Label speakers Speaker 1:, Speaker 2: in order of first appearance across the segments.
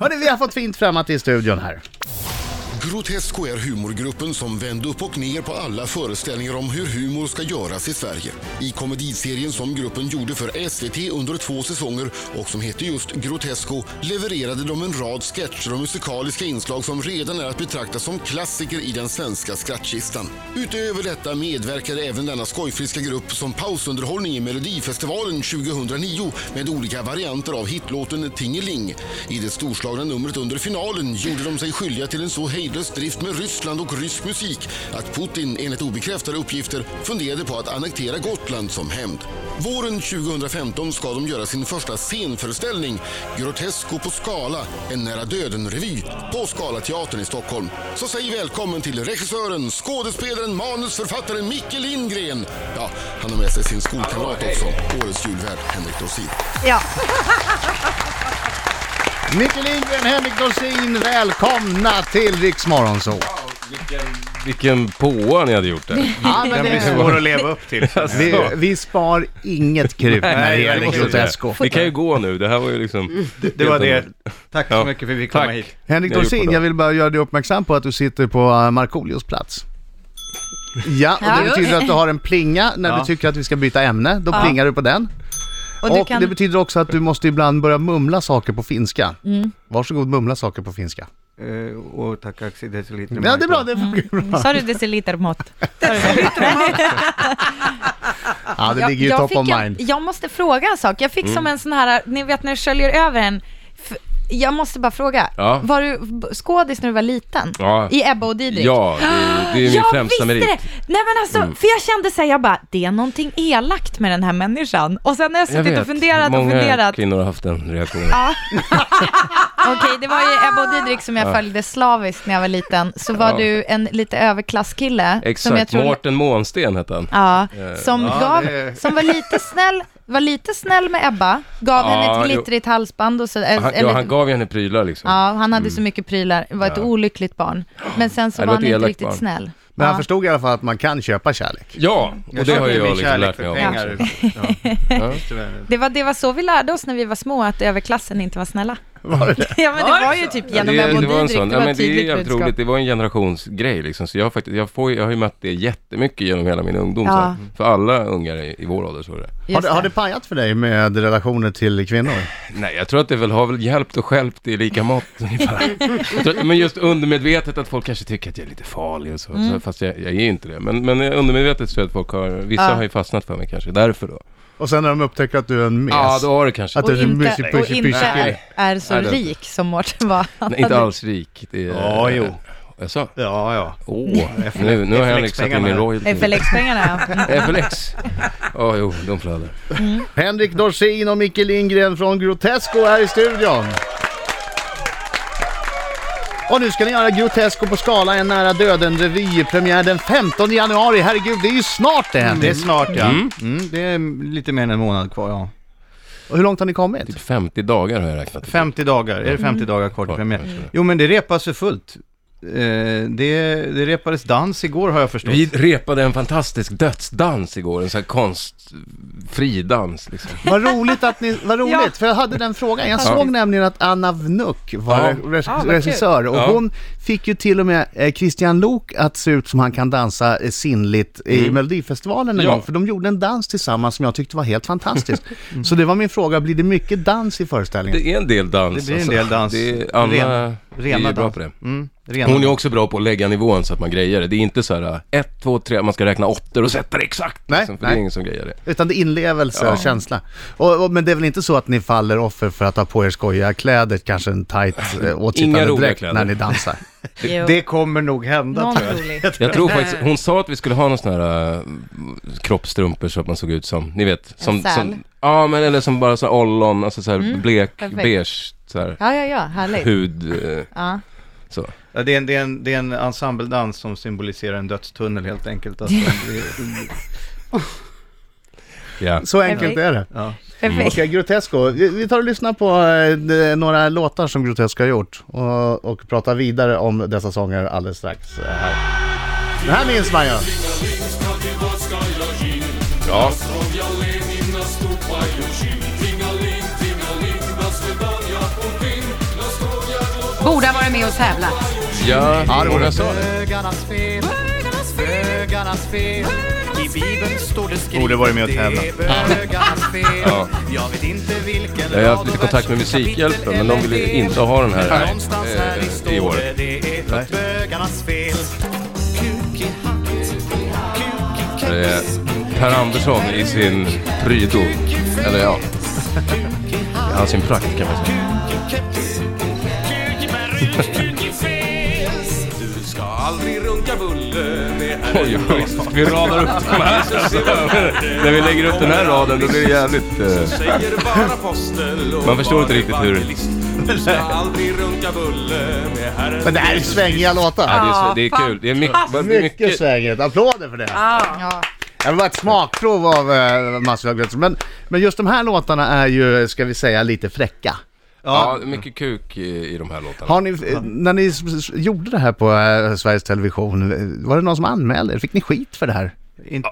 Speaker 1: Hörni, vi har fått fint främmat i studion här.
Speaker 2: Grotesco är humorgruppen som vände upp och ner på alla föreställningar om hur humor ska göras i Sverige. I komediserien som gruppen gjorde för SVT under två säsonger och som hette just Grotesco levererade de en rad sketcher och musikaliska inslag som redan är att betrakta som klassiker i den svenska skrattkistan. Utöver detta medverkade även denna skojfriska grupp som pausunderhållning i Melodifestivalen 2009 med olika varianter av hitlåten Tingeling. I det storslagna numret under finalen gjorde de sig skyldiga till en så hejdlös drift med Ryssland och rysk musik att Putin enligt obekräftade uppgifter funderade på att annektera Gotland som hämnd. Våren 2015 ska de göra sin första scenföreställning, Grotesco på Skala, en nära döden-revy, på Scalateatern i Stockholm. Så säg välkommen till regissören, skådespelaren, manusförfattaren Micke Lindgren. Ja, han har med sig sin skolkamrat också, årets julvärd Henrik Dorsin.
Speaker 3: Ja,
Speaker 1: Micke Lindgren, Henrik Dorsin, välkomna till Riks Morgonzoo.
Speaker 4: Vilken, vilken påa ni hade gjort där. alltså-
Speaker 1: Ja, men
Speaker 5: Den blir
Speaker 1: det,
Speaker 5: svår att leva upp till.
Speaker 1: vi, vi spar inget krut när det
Speaker 4: Nej,
Speaker 1: gäller
Speaker 4: måste säga.
Speaker 1: Grotesco. Mm.
Speaker 4: Vi kan ju gå nu, det här var ju liksom...
Speaker 5: Det var det. Tack så
Speaker 4: Ja.
Speaker 5: mycket för att vi fick
Speaker 4: Tack.
Speaker 5: komma hit.
Speaker 1: Henrik
Speaker 4: Jag har gjort
Speaker 1: Dorsin,
Speaker 4: på
Speaker 1: jag
Speaker 4: dem.
Speaker 1: vill bara göra dig uppmärksam på att du sitter på eh, Markoolios plats. Ja, och det
Speaker 3: Ja.
Speaker 1: betyder att du har en plinga när
Speaker 5: Ja.
Speaker 1: vi tycker att vi ska byta ämne. Då
Speaker 3: Ja.
Speaker 1: plingar du på den.
Speaker 3: och
Speaker 1: Och,
Speaker 3: du kan...
Speaker 1: det betyder också att du måste ibland börja mumla saker på finska. Varsågod, mumla saker på finska.
Speaker 5: Eh, Och tack Axel deciliter.
Speaker 1: Ja, det är bra. Det funkar bra.
Speaker 3: Sa du decilitermått?
Speaker 1: Ja, det ligger ju
Speaker 3: jag,
Speaker 1: top
Speaker 3: fick
Speaker 1: of
Speaker 3: en,
Speaker 1: mind.
Speaker 3: jag måste fråga en sak. Jag fick
Speaker 4: Mm.
Speaker 3: som en sån här, ni vet när det sköljer över en. F- Jag måste bara fråga.
Speaker 4: Ja.
Speaker 3: Var du b- skådis när du var liten?
Speaker 4: Ja.
Speaker 3: I Ebba och Didrik?
Speaker 4: Ja, det, det är
Speaker 3: Ah,
Speaker 4: min
Speaker 3: jag visste
Speaker 4: främsta merit. Mm.
Speaker 3: det! Nej men alltså, för jag kände såhär, jag bara, det är någonting elakt med den här människan. Och sen har jag suttit och funderat
Speaker 4: många
Speaker 3: och funderat. Ah,
Speaker 4: kvinnor har haft den reaktionen.
Speaker 3: Okej, det var ju Ebba och Didrik som jag följde slaviskt när jag var liten. Så var
Speaker 4: Ah. Ja.
Speaker 3: du en lite överklasskille. Som jag
Speaker 4: Exakt,
Speaker 3: tror
Speaker 4: Mårten Månsten hette han.
Speaker 3: Ja, som,
Speaker 5: Ja,
Speaker 3: gav,
Speaker 5: det-
Speaker 3: som var lite snäll, var lite snäll med Ebba, gav
Speaker 4: Ja,
Speaker 3: henne ett
Speaker 4: jo.
Speaker 3: glittrigt halsband och så, eller,
Speaker 4: Han, ja, han gav ju henne prylar liksom.
Speaker 3: ja, han hade så mycket prylar, var ett
Speaker 4: Ja.
Speaker 3: olyckligt barn. Men sen så var
Speaker 4: Ja, det var
Speaker 3: han
Speaker 4: ett
Speaker 3: inte
Speaker 4: elakt
Speaker 3: riktigt
Speaker 4: barn.
Speaker 3: snäll.
Speaker 1: Men han
Speaker 3: ja.
Speaker 1: förstod i alla fall att man kan köpa kärlek.
Speaker 4: Ja, och det har ju
Speaker 5: köpte
Speaker 4: jag
Speaker 5: min
Speaker 4: liksom lärt
Speaker 5: kärlek
Speaker 4: mig
Speaker 5: för
Speaker 4: av.
Speaker 5: pengar.
Speaker 4: också.
Speaker 5: Ja. Tyvärr.
Speaker 3: det, var, det var så vi lärde oss när vi var små, att överklassen inte var snälla.
Speaker 1: Var det det?
Speaker 3: Ja men det var ju typ
Speaker 4: Ja,
Speaker 3: genom Ebba och Didrik, det
Speaker 4: ja,
Speaker 3: var
Speaker 4: men
Speaker 3: ett
Speaker 4: det är
Speaker 3: tydligt
Speaker 4: jävligt roligt,
Speaker 3: budskap.
Speaker 4: det var en generationsgrej liksom. Så jag har, faktiskt, jag, får, ju- jag har ju mött det jättemycket genom hela min ungdom.
Speaker 3: Ja.
Speaker 4: så här. För alla ungar i, i vår ålder så är det.
Speaker 1: Har,
Speaker 3: Just
Speaker 1: det- har det pajat för dig med relationer till kvinnor?
Speaker 4: Nej, jag tror att det väl har väl hjälpt och stjälpt i lika mått ungefär. Jag tror- Men just undermedvetet att folk kanske tycker att jag är lite farlig och så.
Speaker 3: Mm.
Speaker 4: så fast jag, jag är ju inte det. Men, men undermedvetet så är att folk har, vissa
Speaker 3: Ja.
Speaker 4: har ju fastnat för mig kanske, därför då.
Speaker 1: Och sen när de upptäcker att du är en mes.
Speaker 4: Ja, då har det kanske.
Speaker 1: Att
Speaker 3: Och
Speaker 1: du är en
Speaker 3: inte,
Speaker 1: mysig
Speaker 3: och
Speaker 1: pushy pushy
Speaker 3: inte
Speaker 1: kille.
Speaker 3: är så
Speaker 4: Nej, det är inte.
Speaker 3: rik som Mårten var.
Speaker 4: Nej, inte alls rik. Det är,
Speaker 5: Ja, jo.
Speaker 4: Jag sa,
Speaker 5: Ja, ja.
Speaker 4: åh, nu, nu har Henrik satt in min
Speaker 5: FLX-pengarna.
Speaker 4: royalty.
Speaker 3: FLX-pengarna ja.
Speaker 4: FLX. Ja, jo, de flödar.
Speaker 1: Henrik Dorsin och Micke Lindgren från Grotesco här i studion. Och nu ska ni göra Grotesco på skala, en nära döden-revy. Premiär den 15 januari. Herregud, det är ju snart det
Speaker 5: Det
Speaker 1: Henrik.
Speaker 5: är snart ja. Mm, det är lite mer än en månad kvar ja.
Speaker 1: Och hur långt har ni kommit?
Speaker 4: Typ 50 dagar har jag räknat.
Speaker 5: 50 dagar,
Speaker 1: Mm.
Speaker 5: är det 50 dagar kvar till
Speaker 4: Kvar,
Speaker 5: premiär?
Speaker 4: kanske.
Speaker 5: Jo men det repas för fullt. Eh, det, det repades dans igår har jag förstått.
Speaker 4: Vi repade en fantastisk dödsdans igår, en sån här konstfri dans liksom.
Speaker 1: Vad roligt att ni, vad roligt,
Speaker 3: Ja.
Speaker 1: för jag hade den frågan. Jag
Speaker 4: Ja.
Speaker 1: såg nämligen att Anna Vnuk var
Speaker 4: Ja.
Speaker 1: re-
Speaker 3: Ja, Ah, vad
Speaker 1: regissör och
Speaker 4: Ja.
Speaker 1: hon fick ju till och med eh, Christian Lok att se ut som han kan dansa eh, sinnligt i
Speaker 5: Mm.
Speaker 1: Melodifestivalen en
Speaker 4: Ja.
Speaker 1: gång, för de gjorde en dans tillsammans som jag tyckte var helt fantastisk.
Speaker 5: Mm.
Speaker 1: Så det var min fråga, blir det mycket dans i föreställningen?
Speaker 4: Det är en del dans. alltså.
Speaker 5: Det blir en del dans.
Speaker 4: Det är, Anna
Speaker 5: Ren-
Speaker 4: är
Speaker 5: rena
Speaker 4: ju bra
Speaker 5: dans.
Speaker 4: på det.
Speaker 5: Mm, rena
Speaker 4: Hon är också bra på att lägga nivån så att man grejer det. Det är inte så här äh, ett, två, tre, man ska räkna åttor och sätta det exakt.
Speaker 1: Nej,
Speaker 4: liksom, för
Speaker 1: nej.
Speaker 4: det är ingen som grejer det.
Speaker 1: Utan det är inlevelse
Speaker 4: Ja.
Speaker 1: och känsla. Och, och, men det är väl inte så att ni faller offer för att ha på er skojiga kläder, kanske en tight eh,
Speaker 4: Inga
Speaker 1: åtsittande
Speaker 4: roliga
Speaker 1: dräkt
Speaker 4: kläder.
Speaker 1: när ni dansar?
Speaker 3: Jo.
Speaker 5: Det kommer nog hända
Speaker 3: Någon
Speaker 5: tror jag.
Speaker 3: rolig.
Speaker 4: Jag tror faktiskt, hon sa att vi skulle ha någon sån här äh, kroppstrumpor så att man såg ut som, ni vet. Som,
Speaker 3: säl. Mm,
Speaker 4: som, ja, men eller som bara så här ollon, alltså så här blek,
Speaker 3: perfekt.
Speaker 4: beige, så här
Speaker 3: Ja, ja, ja, härligt.
Speaker 4: hud, eh,
Speaker 3: Ja.
Speaker 4: så.
Speaker 5: Ja, det, är en, det, är en, det är en ensembledans som symboliserar en dödstunnel helt enkelt. Alltså, det, är-
Speaker 4: Ja.
Speaker 1: Så enkelt
Speaker 3: Perfekt.
Speaker 1: är det.
Speaker 5: ja.
Speaker 1: Okej,
Speaker 3: Perfekt.
Speaker 1: Grotesco. Vi vi tar och lyssnar på eh, d- några låtar som Grotesco har gjort och, och pratar vidare om dessa sånger alldeles strax. eh, Här. Den här minns man ju.
Speaker 4: Ja.
Speaker 6: Borde ha varit med och tävlat.
Speaker 4: Ja,
Speaker 1: Ja, det vore
Speaker 4: många
Speaker 1: så.
Speaker 4: sa det.
Speaker 7: Bögarnas fel, bögarnas fel. I Bibeln står det skrivet.
Speaker 5: Borde varit med och
Speaker 7: det är
Speaker 5: tävlat.
Speaker 7: bögarnas fel.
Speaker 4: Ja.
Speaker 7: Jag vet inte vilken
Speaker 4: Jag har haft
Speaker 7: rad
Speaker 4: lite
Speaker 7: och
Speaker 4: kontakt med
Speaker 7: vers och
Speaker 4: Musikhjälpen, men
Speaker 7: kapitel
Speaker 4: de ville
Speaker 7: eller
Speaker 4: inte ha den här
Speaker 7: Någonstans här i
Speaker 4: eh, i
Speaker 7: står
Speaker 4: år.
Speaker 7: det, det är
Speaker 5: Nej.
Speaker 7: bögarnas fel. Kuk i hatt, kuk i keps.
Speaker 4: Det är Per Andersson i sin prydo. Eller ja, i all sin prakt kan man säga.
Speaker 8: Du ska aldrig runka bulle med
Speaker 4: Oj, oj, vi radar upp de här. När vi lägger upp den här raden då blir det jävligt... eh,
Speaker 8: Säger bara postel och
Speaker 4: Man förstår inte
Speaker 8: bara
Speaker 4: riktigt hur-
Speaker 8: evangelist. Du ska aldrig runka bulle med herren
Speaker 1: Men det här är svängiga låtar.
Speaker 4: Ja, det, är, så- det är kul. Det är mycket...
Speaker 1: Mycket svängigt. Applåder för det.
Speaker 6: Ja.
Speaker 1: Det var ett smakprov av eh, massor av gröt. Men, men just de här låtarna är ju, ska vi säga, lite fräcka.
Speaker 4: Ja, mycket kuk i, i de här låtarna.
Speaker 1: Har ni, eh, när ni s- s- gjorde det här på eh, Sveriges Television, eh, var det någon som anmälde er? Fick ni skit för det här?
Speaker 5: Inte,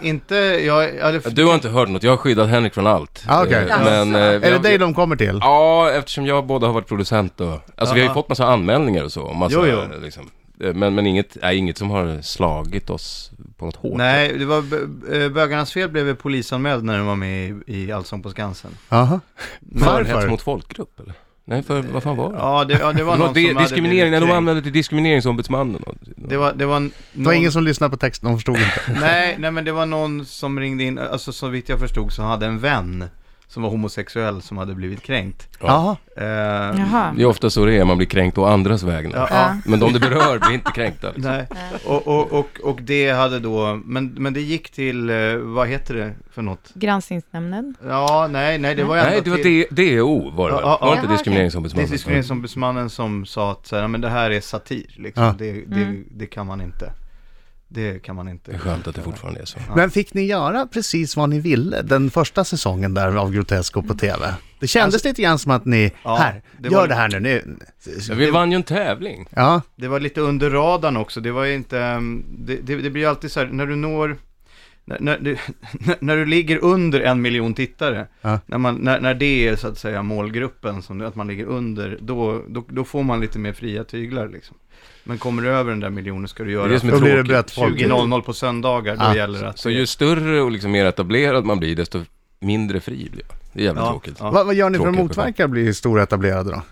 Speaker 5: inte jag, eller,
Speaker 4: Du har inte hört något. Jag har skyddat Henrik från allt.
Speaker 1: Ah, okej.
Speaker 4: Eh, Men, eh,
Speaker 1: Är det
Speaker 4: jag-
Speaker 1: dig de kommer till?
Speaker 4: Ja, eftersom jag både har varit producent och... Alltså vi har ju
Speaker 5: Ja.
Speaker 4: fått massa anmälningar och så. och Massa,
Speaker 5: Jo, jo.
Speaker 4: eh, Liksom. Eh, Men, men inget, nej, inget som har slagit oss på något hårt.
Speaker 5: nej, det var bö- eh, Bögarnas fel blev polisanmäld när de var med i, i Allsång på Skansen.
Speaker 1: Jaha.
Speaker 4: För hets
Speaker 1: Varför?
Speaker 4: mot folkgrupp eller? Nej, för vad fan var det?
Speaker 5: Ja, det, ja, det var
Speaker 4: det var
Speaker 5: någon
Speaker 4: di-
Speaker 5: som hade
Speaker 4: diskriminering, när
Speaker 5: blivit
Speaker 4: de
Speaker 5: kränkt.
Speaker 4: anmälde till diskrimineringsombudsmannen. och-
Speaker 5: Det var, det var, n-
Speaker 1: Det var
Speaker 5: någon,
Speaker 1: ingen som lyssnade på texten, de förstod inte.
Speaker 5: nej, nej, men det var någon som ringde in, alltså så vitt jag förstod så hade en vän som var homosexuell som hade blivit kränkt.
Speaker 1: Jaha.
Speaker 5: Eh,
Speaker 3: Jaha.
Speaker 4: Det är ofta så det är, man blir kränkt å andras vägnar.
Speaker 5: ja, ja.
Speaker 4: Men de det berör blir inte kränkta. Liksom.
Speaker 5: Nej, och, och, och, och det hade då, men, men det gick till, eh, vad heter det för något?
Speaker 3: Granskningsnämnden.
Speaker 5: Ja, nej, nej, det var ju
Speaker 4: Nej,
Speaker 5: ändå
Speaker 4: det var
Speaker 5: till
Speaker 4: D- DO var det väl?
Speaker 5: Ja, ja,
Speaker 4: Var
Speaker 5: ja.
Speaker 4: inte
Speaker 5: det är
Speaker 4: diskrimineringsombudsmannen?
Speaker 5: diskrimineringsombudsmannen som sa att så här, "Ja, men det här är satir, liksom.
Speaker 1: Ja.
Speaker 5: det, det, det kan man inte. Det kan man inte.
Speaker 4: Det är skönt att det fortfarande är så.
Speaker 1: Men fick ni göra precis vad ni ville den första säsongen där av Grotesco på TV? Det kändes lite grann som att ni,
Speaker 5: Ja,
Speaker 1: här,
Speaker 5: det
Speaker 1: gör
Speaker 5: var-
Speaker 1: det här nu, nu.
Speaker 4: Vi vann ju en tävling.
Speaker 1: Ja,
Speaker 5: Det var lite under radarn också, det var ju inte, ehm, det, det, det blir ju alltid så här, när du når, när, när, du, när du ligger under en miljon tittare,
Speaker 1: Ja.
Speaker 5: när, man, när, när det är så att säga målgruppen, som, att man ligger under, då, då, då får man lite mer fria tyglar liksom. Men kommer du över den där miljonen ska du
Speaker 4: Det är det
Speaker 5: göra
Speaker 4: som är
Speaker 1: då blir det
Speaker 4: tråkigt.
Speaker 1: bötfolk.
Speaker 5: 20.00 på söndagar, då
Speaker 1: Ja.
Speaker 5: gäller det att...
Speaker 4: Så ju större och liksom mer etablerad man blir, desto mindre fri blir jag. Det är jävligt
Speaker 5: Ja,
Speaker 4: tråkigt.
Speaker 5: ja.
Speaker 1: Vad, vad gör ni för att
Speaker 4: Tråkigt,
Speaker 1: motverka att bli stora etablerade då?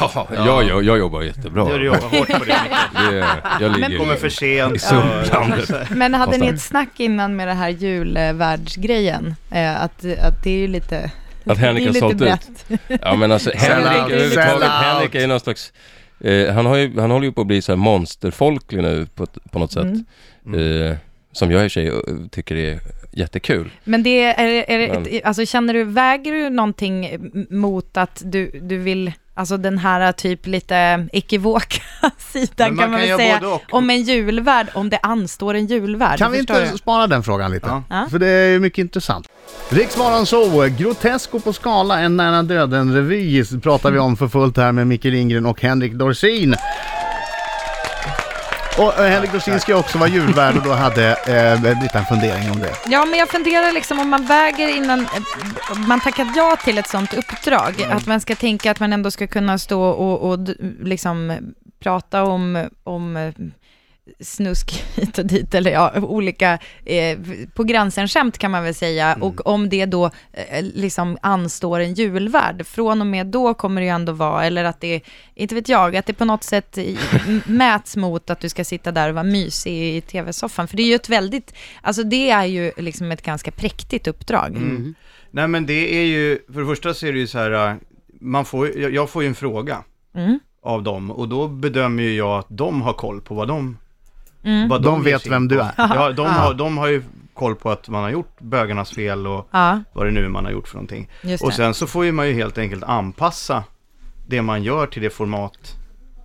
Speaker 4: Ja, jag, jag, jag jobbar jättebra.
Speaker 5: Du jobbar hårt på det, Micke.
Speaker 4: Det, jag ligger
Speaker 5: kommer för
Speaker 4: i
Speaker 5: sent.
Speaker 4: sumlandet.
Speaker 3: Men hade ni
Speaker 4: Kostar.
Speaker 3: ett snack innan med det här julvärdsgrejen? Eh, att, att det är ju lite...
Speaker 4: Att Henrik
Speaker 3: det är
Speaker 4: har
Speaker 3: lite
Speaker 4: sålt ut.
Speaker 3: brett.
Speaker 4: Ja men alltså
Speaker 1: Sell out,
Speaker 4: Henrik
Speaker 1: sell out.
Speaker 4: överhuvudtaget, Henrik är ju någon slags eh, han, har ju, han håller ju på att bli så här monsterfolklig nu på, ett- på något sätt.
Speaker 3: Mm.
Speaker 1: Mm.
Speaker 4: Eh, som jag i och för sig eh, tycker är jättekul.
Speaker 3: Men det är, är, det
Speaker 4: Men-
Speaker 3: ett- alltså känner du, väger du någonting m- mot att du, du vill, alltså den här typ lite ekivoka sidan
Speaker 5: Men man
Speaker 3: kan man
Speaker 5: kan
Speaker 3: väl
Speaker 5: göra
Speaker 3: säga,
Speaker 5: både och.
Speaker 3: om en julvärd, om det anstår en julvärd.
Speaker 1: Kan vi
Speaker 3: förstår
Speaker 1: inte
Speaker 3: du?
Speaker 1: spara den frågan lite?
Speaker 5: Ja.
Speaker 3: Ja.
Speaker 1: För det är ju mycket intressant. Riksmorgon så, Grotesco på skala, en nära döden-revy pratar vi om för fullt här med Micke Lindgren och Henrik Dorsin. Och eh, Henrik Dorsin ska ju också vara julvärd och då hade eh, en liten fundering om det.
Speaker 3: Ja, men jag funderar liksom om man väger innan eh, man tackat ja till ett sånt uppdrag, att man ska tänka att man ändå ska kunna stå och, och d- liksom prata om, om eh, snusk hit och dit, eller ja, olika, eh, på gränsen skämt kan man väl säga, och om det då eh, liksom anstår en julvärd, från och med då kommer det ju ändå vara, eller att det, inte vet jag, att det på något sätt i- m- mäts mot att du ska sitta där och vara mysig i tv-soffan, för det är ju ett väldigt, alltså det är ju liksom ett ganska präktigt uppdrag.
Speaker 5: Nej men det är ju, för det första så är det ju så här, eh, man får, ju- jag- jag får ju en fråga
Speaker 3: Mm.
Speaker 5: av dem och då bedömer ju jag att de har koll på vad de...
Speaker 3: Mm.
Speaker 5: Vad
Speaker 1: De
Speaker 5: ger
Speaker 1: vet
Speaker 5: sig
Speaker 1: vem
Speaker 5: in
Speaker 1: du
Speaker 5: på.
Speaker 1: är.
Speaker 5: Ja, de, har, de har ju koll på att man har gjort bögarnas fel och
Speaker 3: Ja,
Speaker 5: vad det nu är man har gjort för någonting.
Speaker 3: just
Speaker 5: Och
Speaker 3: det.
Speaker 5: sen så får ju man ju helt enkelt anpassa det man gör till det format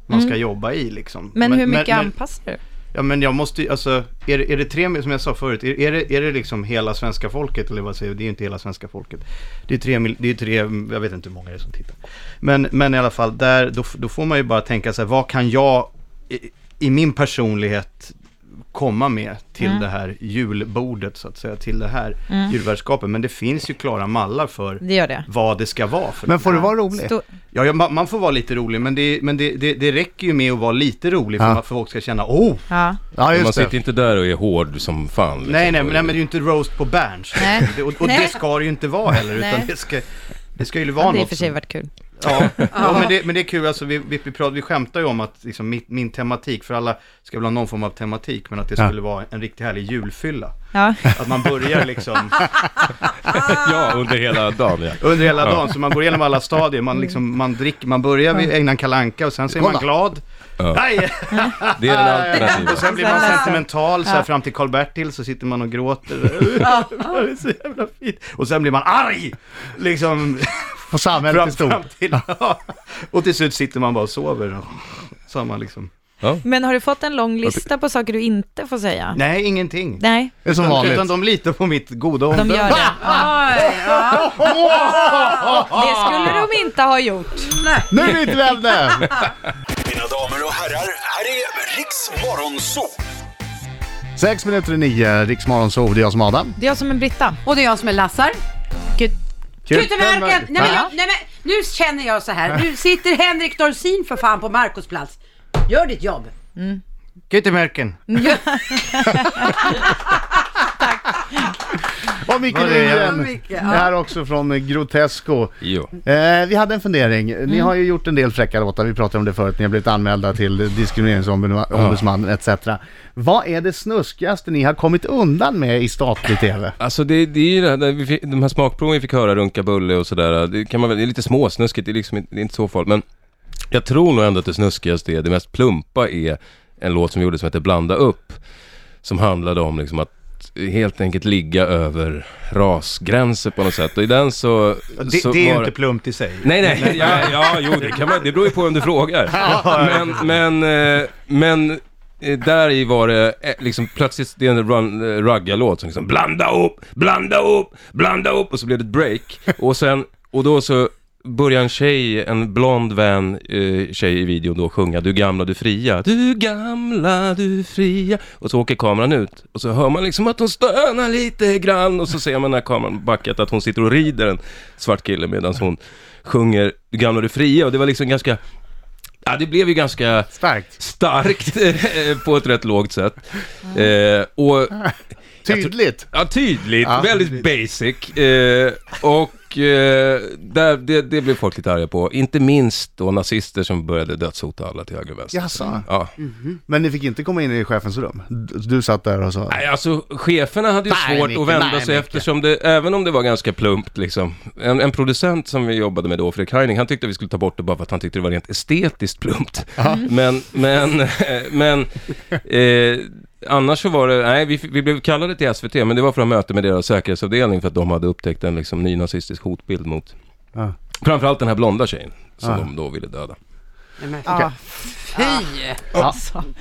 Speaker 5: man ska jobba i liksom.
Speaker 3: Mm. men, hur mycket
Speaker 5: men,
Speaker 3: anpassar du?
Speaker 5: Ja men jag måste ju, alltså, är, det- är det tre, mil- som jag sa förut, är, är, det, är det liksom hela svenska folket, eller vad säger jag, det är ju inte hela svenska folket. Det är tre, mil- det är tre, jag vet inte hur många det är som tittar. Men, men i alla fall, där, då, f- då får man ju bara tänka sig, vad kan jag i, i min personlighet komma med till
Speaker 3: Mm.
Speaker 5: det här julbordet så att säga, till det här julvärdskapet. Men det finns ju klara mallar för
Speaker 3: Det gör det.
Speaker 5: vad det ska vara för
Speaker 1: Men får du vara rolig?
Speaker 3: Stor-
Speaker 5: Ja, ja, ma- man får vara lite rolig, men det, men det, det, det räcker ju med att vara lite rolig
Speaker 1: Ja.
Speaker 5: för att folk ska känna oh!
Speaker 3: Ja.
Speaker 1: Ja,
Speaker 4: man
Speaker 1: just
Speaker 4: sitter
Speaker 1: det.
Speaker 4: inte där och är hård som fan. liksom.
Speaker 5: Nej, nej, men, nej, men det är ju inte roast på Berns.
Speaker 3: Nej.
Speaker 5: Det- Och, och
Speaker 3: Nej.
Speaker 5: det ska det ju inte vara heller, utan
Speaker 3: Nej.
Speaker 5: det ska, det ska ju vara
Speaker 3: Det hade i och
Speaker 5: något.
Speaker 3: för sig
Speaker 5: som-
Speaker 3: varit kul.
Speaker 5: Ja, ja men, det, men det är kul, alltså, vi, vi, vi, pratar, vi skämtar ju om att liksom, min, min tematik, för alla ska väl ha någon form av tematik, men att det
Speaker 1: Ja.
Speaker 5: skulle vara en riktigt härlig julfylla.
Speaker 3: Ja.
Speaker 5: Att man börjar liksom
Speaker 4: ja, under hela dagen ja.
Speaker 5: under hela dagen, så man går igenom alla stadier, man, liksom, man, dricker, man börjar vid ägnan kalanka och sen så är man
Speaker 1: Kolla.
Speaker 5: glad.
Speaker 4: Ja.
Speaker 5: Nej!
Speaker 4: Det är den alternativa.
Speaker 5: Och sen blir man
Speaker 3: Sen ledsen.
Speaker 5: sentimental, så här, fram till Karl-Bertil så sitter man och gråter. det är så jävla fint. Och sen blir man arg! Liksom,
Speaker 1: På samhället i
Speaker 5: fram,
Speaker 1: stort.
Speaker 5: fram till... Och till slut sitter man bara och sover. Så har man liksom...
Speaker 3: Men har du fått en lång lista på saker du inte får säga?
Speaker 5: Nej, ingenting.
Speaker 3: Nej,
Speaker 1: Det är som
Speaker 5: Utan,
Speaker 1: vanligt.
Speaker 5: utan de litar på mitt goda
Speaker 3: de
Speaker 5: omdöme.
Speaker 3: gör det. Oj, ja. Det skulle de inte ha gjort.
Speaker 1: Nu är vi inte vänner!
Speaker 6: Mina damer och herrar, här är Riks Morgonzoo!
Speaker 1: Sex minuter i nio, Riksmorgon sov, det är jag som Adam.
Speaker 3: Det är jag som en Britta.
Speaker 9: Och det är jag som är Lassar.
Speaker 3: Gud.
Speaker 9: Kutemärken! Nej, men, jag,
Speaker 3: Ja.
Speaker 9: nej, men, nu känner jag så här. Nu sitter Henrik Dorsin för fan på Marcos plats. Gör ditt jobb.
Speaker 5: Gutemärken.
Speaker 1: Och Micke
Speaker 5: Vad är det?
Speaker 1: Lindgren,
Speaker 9: Micke, ja.
Speaker 1: här också från eh, Grotesco.
Speaker 4: Jo.
Speaker 1: Eh, vi hade en fundering. Ni har ju gjort en del fräcka låtar, vi pratade om det förut, ni har blivit anmälda till diskrimineringsombudsmannen etc. Vad är det snuskigaste ni har kommit undan med i statlig TV?
Speaker 4: Alltså det, det är ju det här, där vi fick, de här smakproven vi fick höra, runka bulle och sådär. Det, kan man, väl- det är lite småsnuskigt, det är, liksom, inte- det är inte så farligt. Men jag tror nog ändå att det snuskigaste är, det mest plumpa är en låt som vi gjorde som heter Blanda upp. Som handlade om liksom att helt enkelt ligga över rasgränser på något sätt. Och i den så...
Speaker 5: Det,
Speaker 4: så
Speaker 5: det är ju
Speaker 4: var-
Speaker 5: inte plumpt i sig.
Speaker 4: Nej, nej, ja, ja jo, det, kan man, det beror ju på vem du frågar. Men, men, eh, men eh, där i var det eh, liksom plötsligt, det är en run- eh, raggarlåt som liksom blanda upp, blanda upp, blanda upp och så blev det ett break. Och sen, och då så börjar en tjej, en blond vän eh, tjej i videon då sjunga Du gamla, du fria, du gamla, du fria. Och så åker kameran ut och så hör man liksom att hon stönar lite grann och så ser man när kameran backat att hon sitter och rider en svart kille medan hon sjunger Du gamla, du fria. Och det var liksom ganska, ja det blev ju ganska
Speaker 1: Starkt.
Speaker 4: starkt eh, på ett rätt lågt sätt. Eh, och
Speaker 1: Tydligt.
Speaker 4: ja, tydligt,
Speaker 1: Ja.
Speaker 4: väldigt basic. Eh, och eh, där, det, det blev folk lite arga på. Inte minst då nazister som började dödshota alla till höger och vänster.
Speaker 1: Jaså?
Speaker 4: Ja.
Speaker 1: Men ni fick inte komma in i Alltså, chefens rum? D- Du satt där och sa...
Speaker 4: Nej, alltså cheferna hade ju
Speaker 1: Nej,
Speaker 4: svårt
Speaker 1: Micke,
Speaker 4: att vända
Speaker 1: nej,
Speaker 4: sig
Speaker 1: Micke.
Speaker 4: eftersom det, även om det var ganska plumpt liksom. En, en producent som vi jobbade med då, Fredrik Heining, han tyckte vi skulle ta bort det bara för att han tyckte det var rent estetiskt plumpt. Men, men, men, eh, annars så var det, nej vi, f- vi blev kallade till SVT, men det var för att möte med deras säkerhetsavdelning för att de hade upptäckt en liksom ny nazistisk hotbild mot,
Speaker 1: Ja.
Speaker 4: framförallt den här blonda tjejen, som
Speaker 1: Ja.
Speaker 4: de då ville döda.
Speaker 1: Okej.
Speaker 9: Fy!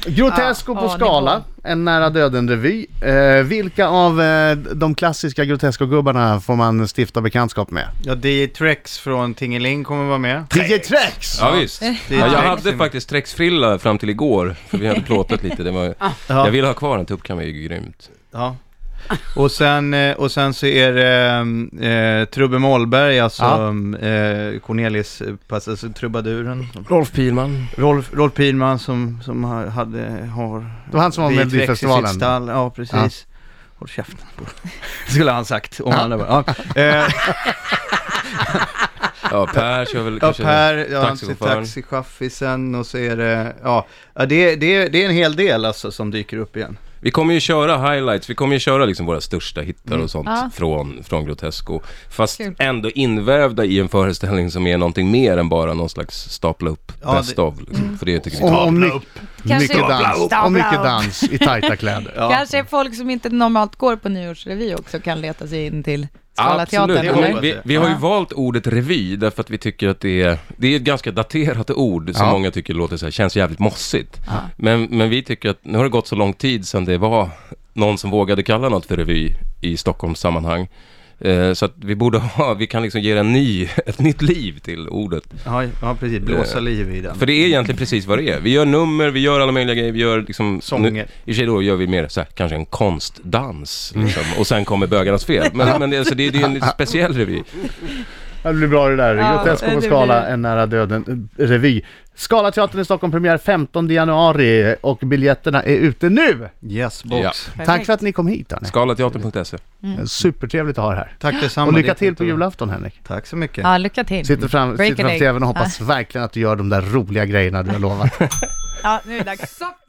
Speaker 1: Grotesco på
Speaker 3: Ja,
Speaker 1: skala, en nära döden-revy. Eh, vilka av eh, de klassiska Grotesco-gubbarna får man stifta bekantskap med?
Speaker 5: Ja, DJ Trex från Tingeling kommer vara med.
Speaker 1: DJ Trex!
Speaker 4: Ja, visst.
Speaker 5: är
Speaker 4: Ja, jag
Speaker 5: Trex.
Speaker 4: hade faktiskt Trex-frilla fram till igår, för vi hade plåtat lite. Det var,
Speaker 5: Ja.
Speaker 4: Jag ville ha kvar den, tuppkam är ju grymt.
Speaker 5: Ja. Och sen, eh, och sen så är det eh, eh, Trubbe Mollberg, alltså eh, Cornelis, eh, pass- alltså trubaduren.
Speaker 4: Rolf Pilman.
Speaker 5: Rolf, Rolf Pilman som, som har, hade, har
Speaker 1: Det var han som var med i
Speaker 5: Beatrix
Speaker 1: Melodifestivalen.
Speaker 5: sitt stall. Ja, precis. Håll käften. Skulle han sagt om han hade varit. Ja. Eh,
Speaker 4: Ja, Per kör väl
Speaker 5: Ja,
Speaker 4: kanske
Speaker 5: Per, ja, han ser
Speaker 4: taxichauffören.
Speaker 5: taxichaffisen och så är det, ja, ja, det, det, det är en hel del alltså som dyker upp igen.
Speaker 4: Vi kommer ju köra highlights, vi kommer ju köra liksom våra största hittar
Speaker 5: Mm.
Speaker 4: och sånt
Speaker 3: Ja.
Speaker 4: från, från Grotesco. Fast
Speaker 3: Kul.
Speaker 4: ändå invävda i en föreställning som är någonting mer än bara någon slags stapla upp
Speaker 5: Ja,
Speaker 4: best
Speaker 5: det-
Speaker 4: of. Liksom. För det tycker vi
Speaker 1: Och, och my-
Speaker 3: Kanske-
Speaker 1: mycket dans.
Speaker 3: Stapla
Speaker 1: Och mycket
Speaker 3: upp.
Speaker 1: dans i tajta kläder.
Speaker 5: Ja.
Speaker 3: Kanske folk som inte normalt går på nyårsrevy också kan leta sig in till Skala teatern,
Speaker 5: Det hoppas
Speaker 3: eller?
Speaker 5: jag.
Speaker 4: Vi, vi har ju
Speaker 3: Ja.
Speaker 4: valt ordet revy därför att vi tycker att det är, det är ett ganska daterat ord som
Speaker 1: Ja.
Speaker 4: många tycker låter så här, känns jävligt mossigt. Men, men vi tycker att nu har det gått så lång tid sedan det var någon som vågade kalla något för revy i Stockholms sammanhang. Eh, Så att vi borde ha, vi kan liksom ge en ny, ett nytt liv till ordet.
Speaker 5: Ja, ja precis. Blåsa
Speaker 4: Eh,
Speaker 5: liv i den.
Speaker 4: För det är egentligen precis vad det är. Vi gör nummer, vi gör alla möjliga grejer, vi gör liksom...
Speaker 5: Sånger.
Speaker 4: Nu, I och för sig då gör vi mer så här, kanske en konstdans liksom, och sen kommer bögarnas fel. Men, men det, alltså, det, det är en lite speciell revy.
Speaker 1: Ja, det blir bra det där.
Speaker 3: Ja,
Speaker 1: Grotesk
Speaker 3: det
Speaker 1: på
Speaker 3: blir-
Speaker 1: skala, en nära döden-revy. Skalateatern i Stockholm premiär 15 januari och biljetterna är ute nu.
Speaker 5: Yes, box.
Speaker 4: Ja.
Speaker 1: Tack för att ni kom hit Annie. Eh,
Speaker 4: Skalateatern.se.
Speaker 1: Mm. Supertrevligt att ha er här.
Speaker 5: Tack detsamma.
Speaker 1: Och
Speaker 5: Det
Speaker 1: lycka
Speaker 5: är
Speaker 1: till
Speaker 5: fint
Speaker 1: på
Speaker 5: att-
Speaker 1: julafton Henrik.
Speaker 5: Tack så mycket.
Speaker 3: Ja, lycka till.
Speaker 1: Sitter fram,
Speaker 3: Break
Speaker 1: sitter
Speaker 3: a
Speaker 1: fram
Speaker 3: leg.
Speaker 1: tvn och hoppas verkligen att du gör de där roliga grejerna du har lovat.
Speaker 3: Ja, nu är det dags.
Speaker 9: Så